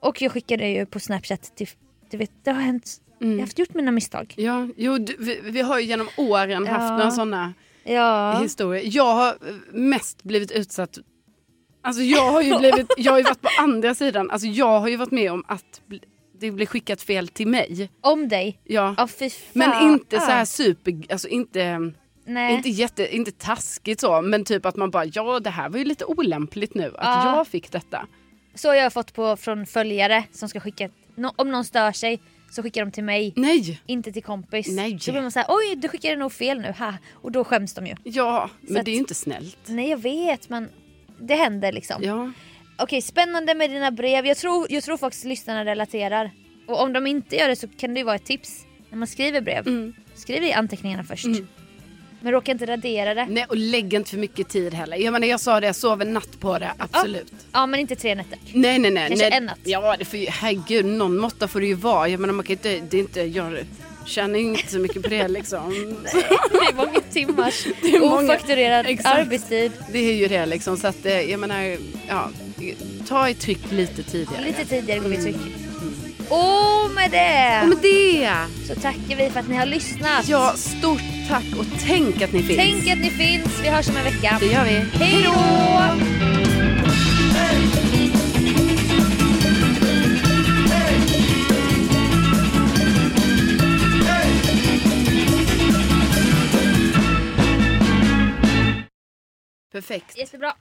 [SPEAKER 1] Och jag skickade ju på snapchat till, du vet det har hänt. Jag har haft gjort mina misstag.
[SPEAKER 2] Mm. Ja, jo, du, vi, vi har ju genom åren haft
[SPEAKER 1] Ja.
[SPEAKER 2] några sådana
[SPEAKER 1] Ja.
[SPEAKER 2] historier. Jag har eh, mest blivit utsatt Alltså jag har ju blivit, jag har ju varit på andra sidan, alltså jag har ju varit med om att bli, det blir skickat fel till mig.
[SPEAKER 1] Om dig?
[SPEAKER 2] Ja.
[SPEAKER 1] Ja fy fan.
[SPEAKER 2] Men inte så här super, alltså inte,
[SPEAKER 1] Nej.
[SPEAKER 2] inte, jätte, inte taskigt så, men typ att man bara ja det här var ju lite olämpligt nu att
[SPEAKER 1] Ja.
[SPEAKER 2] jag fick detta.
[SPEAKER 1] Så har jag fått på, från följare som ska skicka, nå- om någon stör sig så skickar de till mig.
[SPEAKER 2] Nej,
[SPEAKER 1] Inte till kompis.
[SPEAKER 2] Nej.
[SPEAKER 1] Så blir man såhär, oj du skickade nog fel nu, ha. Och då skäms de ju.
[SPEAKER 2] ja, men
[SPEAKER 1] att-
[SPEAKER 2] det är ju inte snällt.
[SPEAKER 1] Nej jag vet men det händer liksom.
[SPEAKER 2] Ja,
[SPEAKER 1] Okej spännande med dina brev, jag tror, jag tror faktiskt lyssnarna relaterar. Och om de inte gör det så kan det ju vara ett tips. När man skriver brev, skriv i anteckningarna först. Men råka inte radera det.
[SPEAKER 2] nej och lägg inte för mycket tid heller. Jag menar jag sa det, jag sov en natt på det, absolut.
[SPEAKER 1] Ja men inte tre nätter.
[SPEAKER 2] Nej nej nej.
[SPEAKER 1] Kanske
[SPEAKER 2] nej.
[SPEAKER 1] en natt.
[SPEAKER 2] Ja, det får ju, herregud någon måtta får det ju vara. Jag menar man kan inte, det är inte, jag tjänar ju inte så mycket på det liksom.
[SPEAKER 1] Det är många timmars
[SPEAKER 2] Det är många-
[SPEAKER 1] ofakturerad
[SPEAKER 2] Exakt.
[SPEAKER 1] arbetstid.
[SPEAKER 2] Det är ju det liksom så att eh, jag menar, ja, ta ett tryck lite tidigare.
[SPEAKER 1] Lite tidigare går vi tryck. Och med
[SPEAKER 2] Och
[SPEAKER 1] det
[SPEAKER 2] med det!
[SPEAKER 1] så tackar vi för att ni har lyssnat.
[SPEAKER 2] Ja, stort tack och tänk att ni finns.
[SPEAKER 1] Tänk att ni finns. Vi hörs om en vecka.
[SPEAKER 2] Det gör vi.
[SPEAKER 1] Hej då!
[SPEAKER 2] Perfekt.
[SPEAKER 1] Jättebra.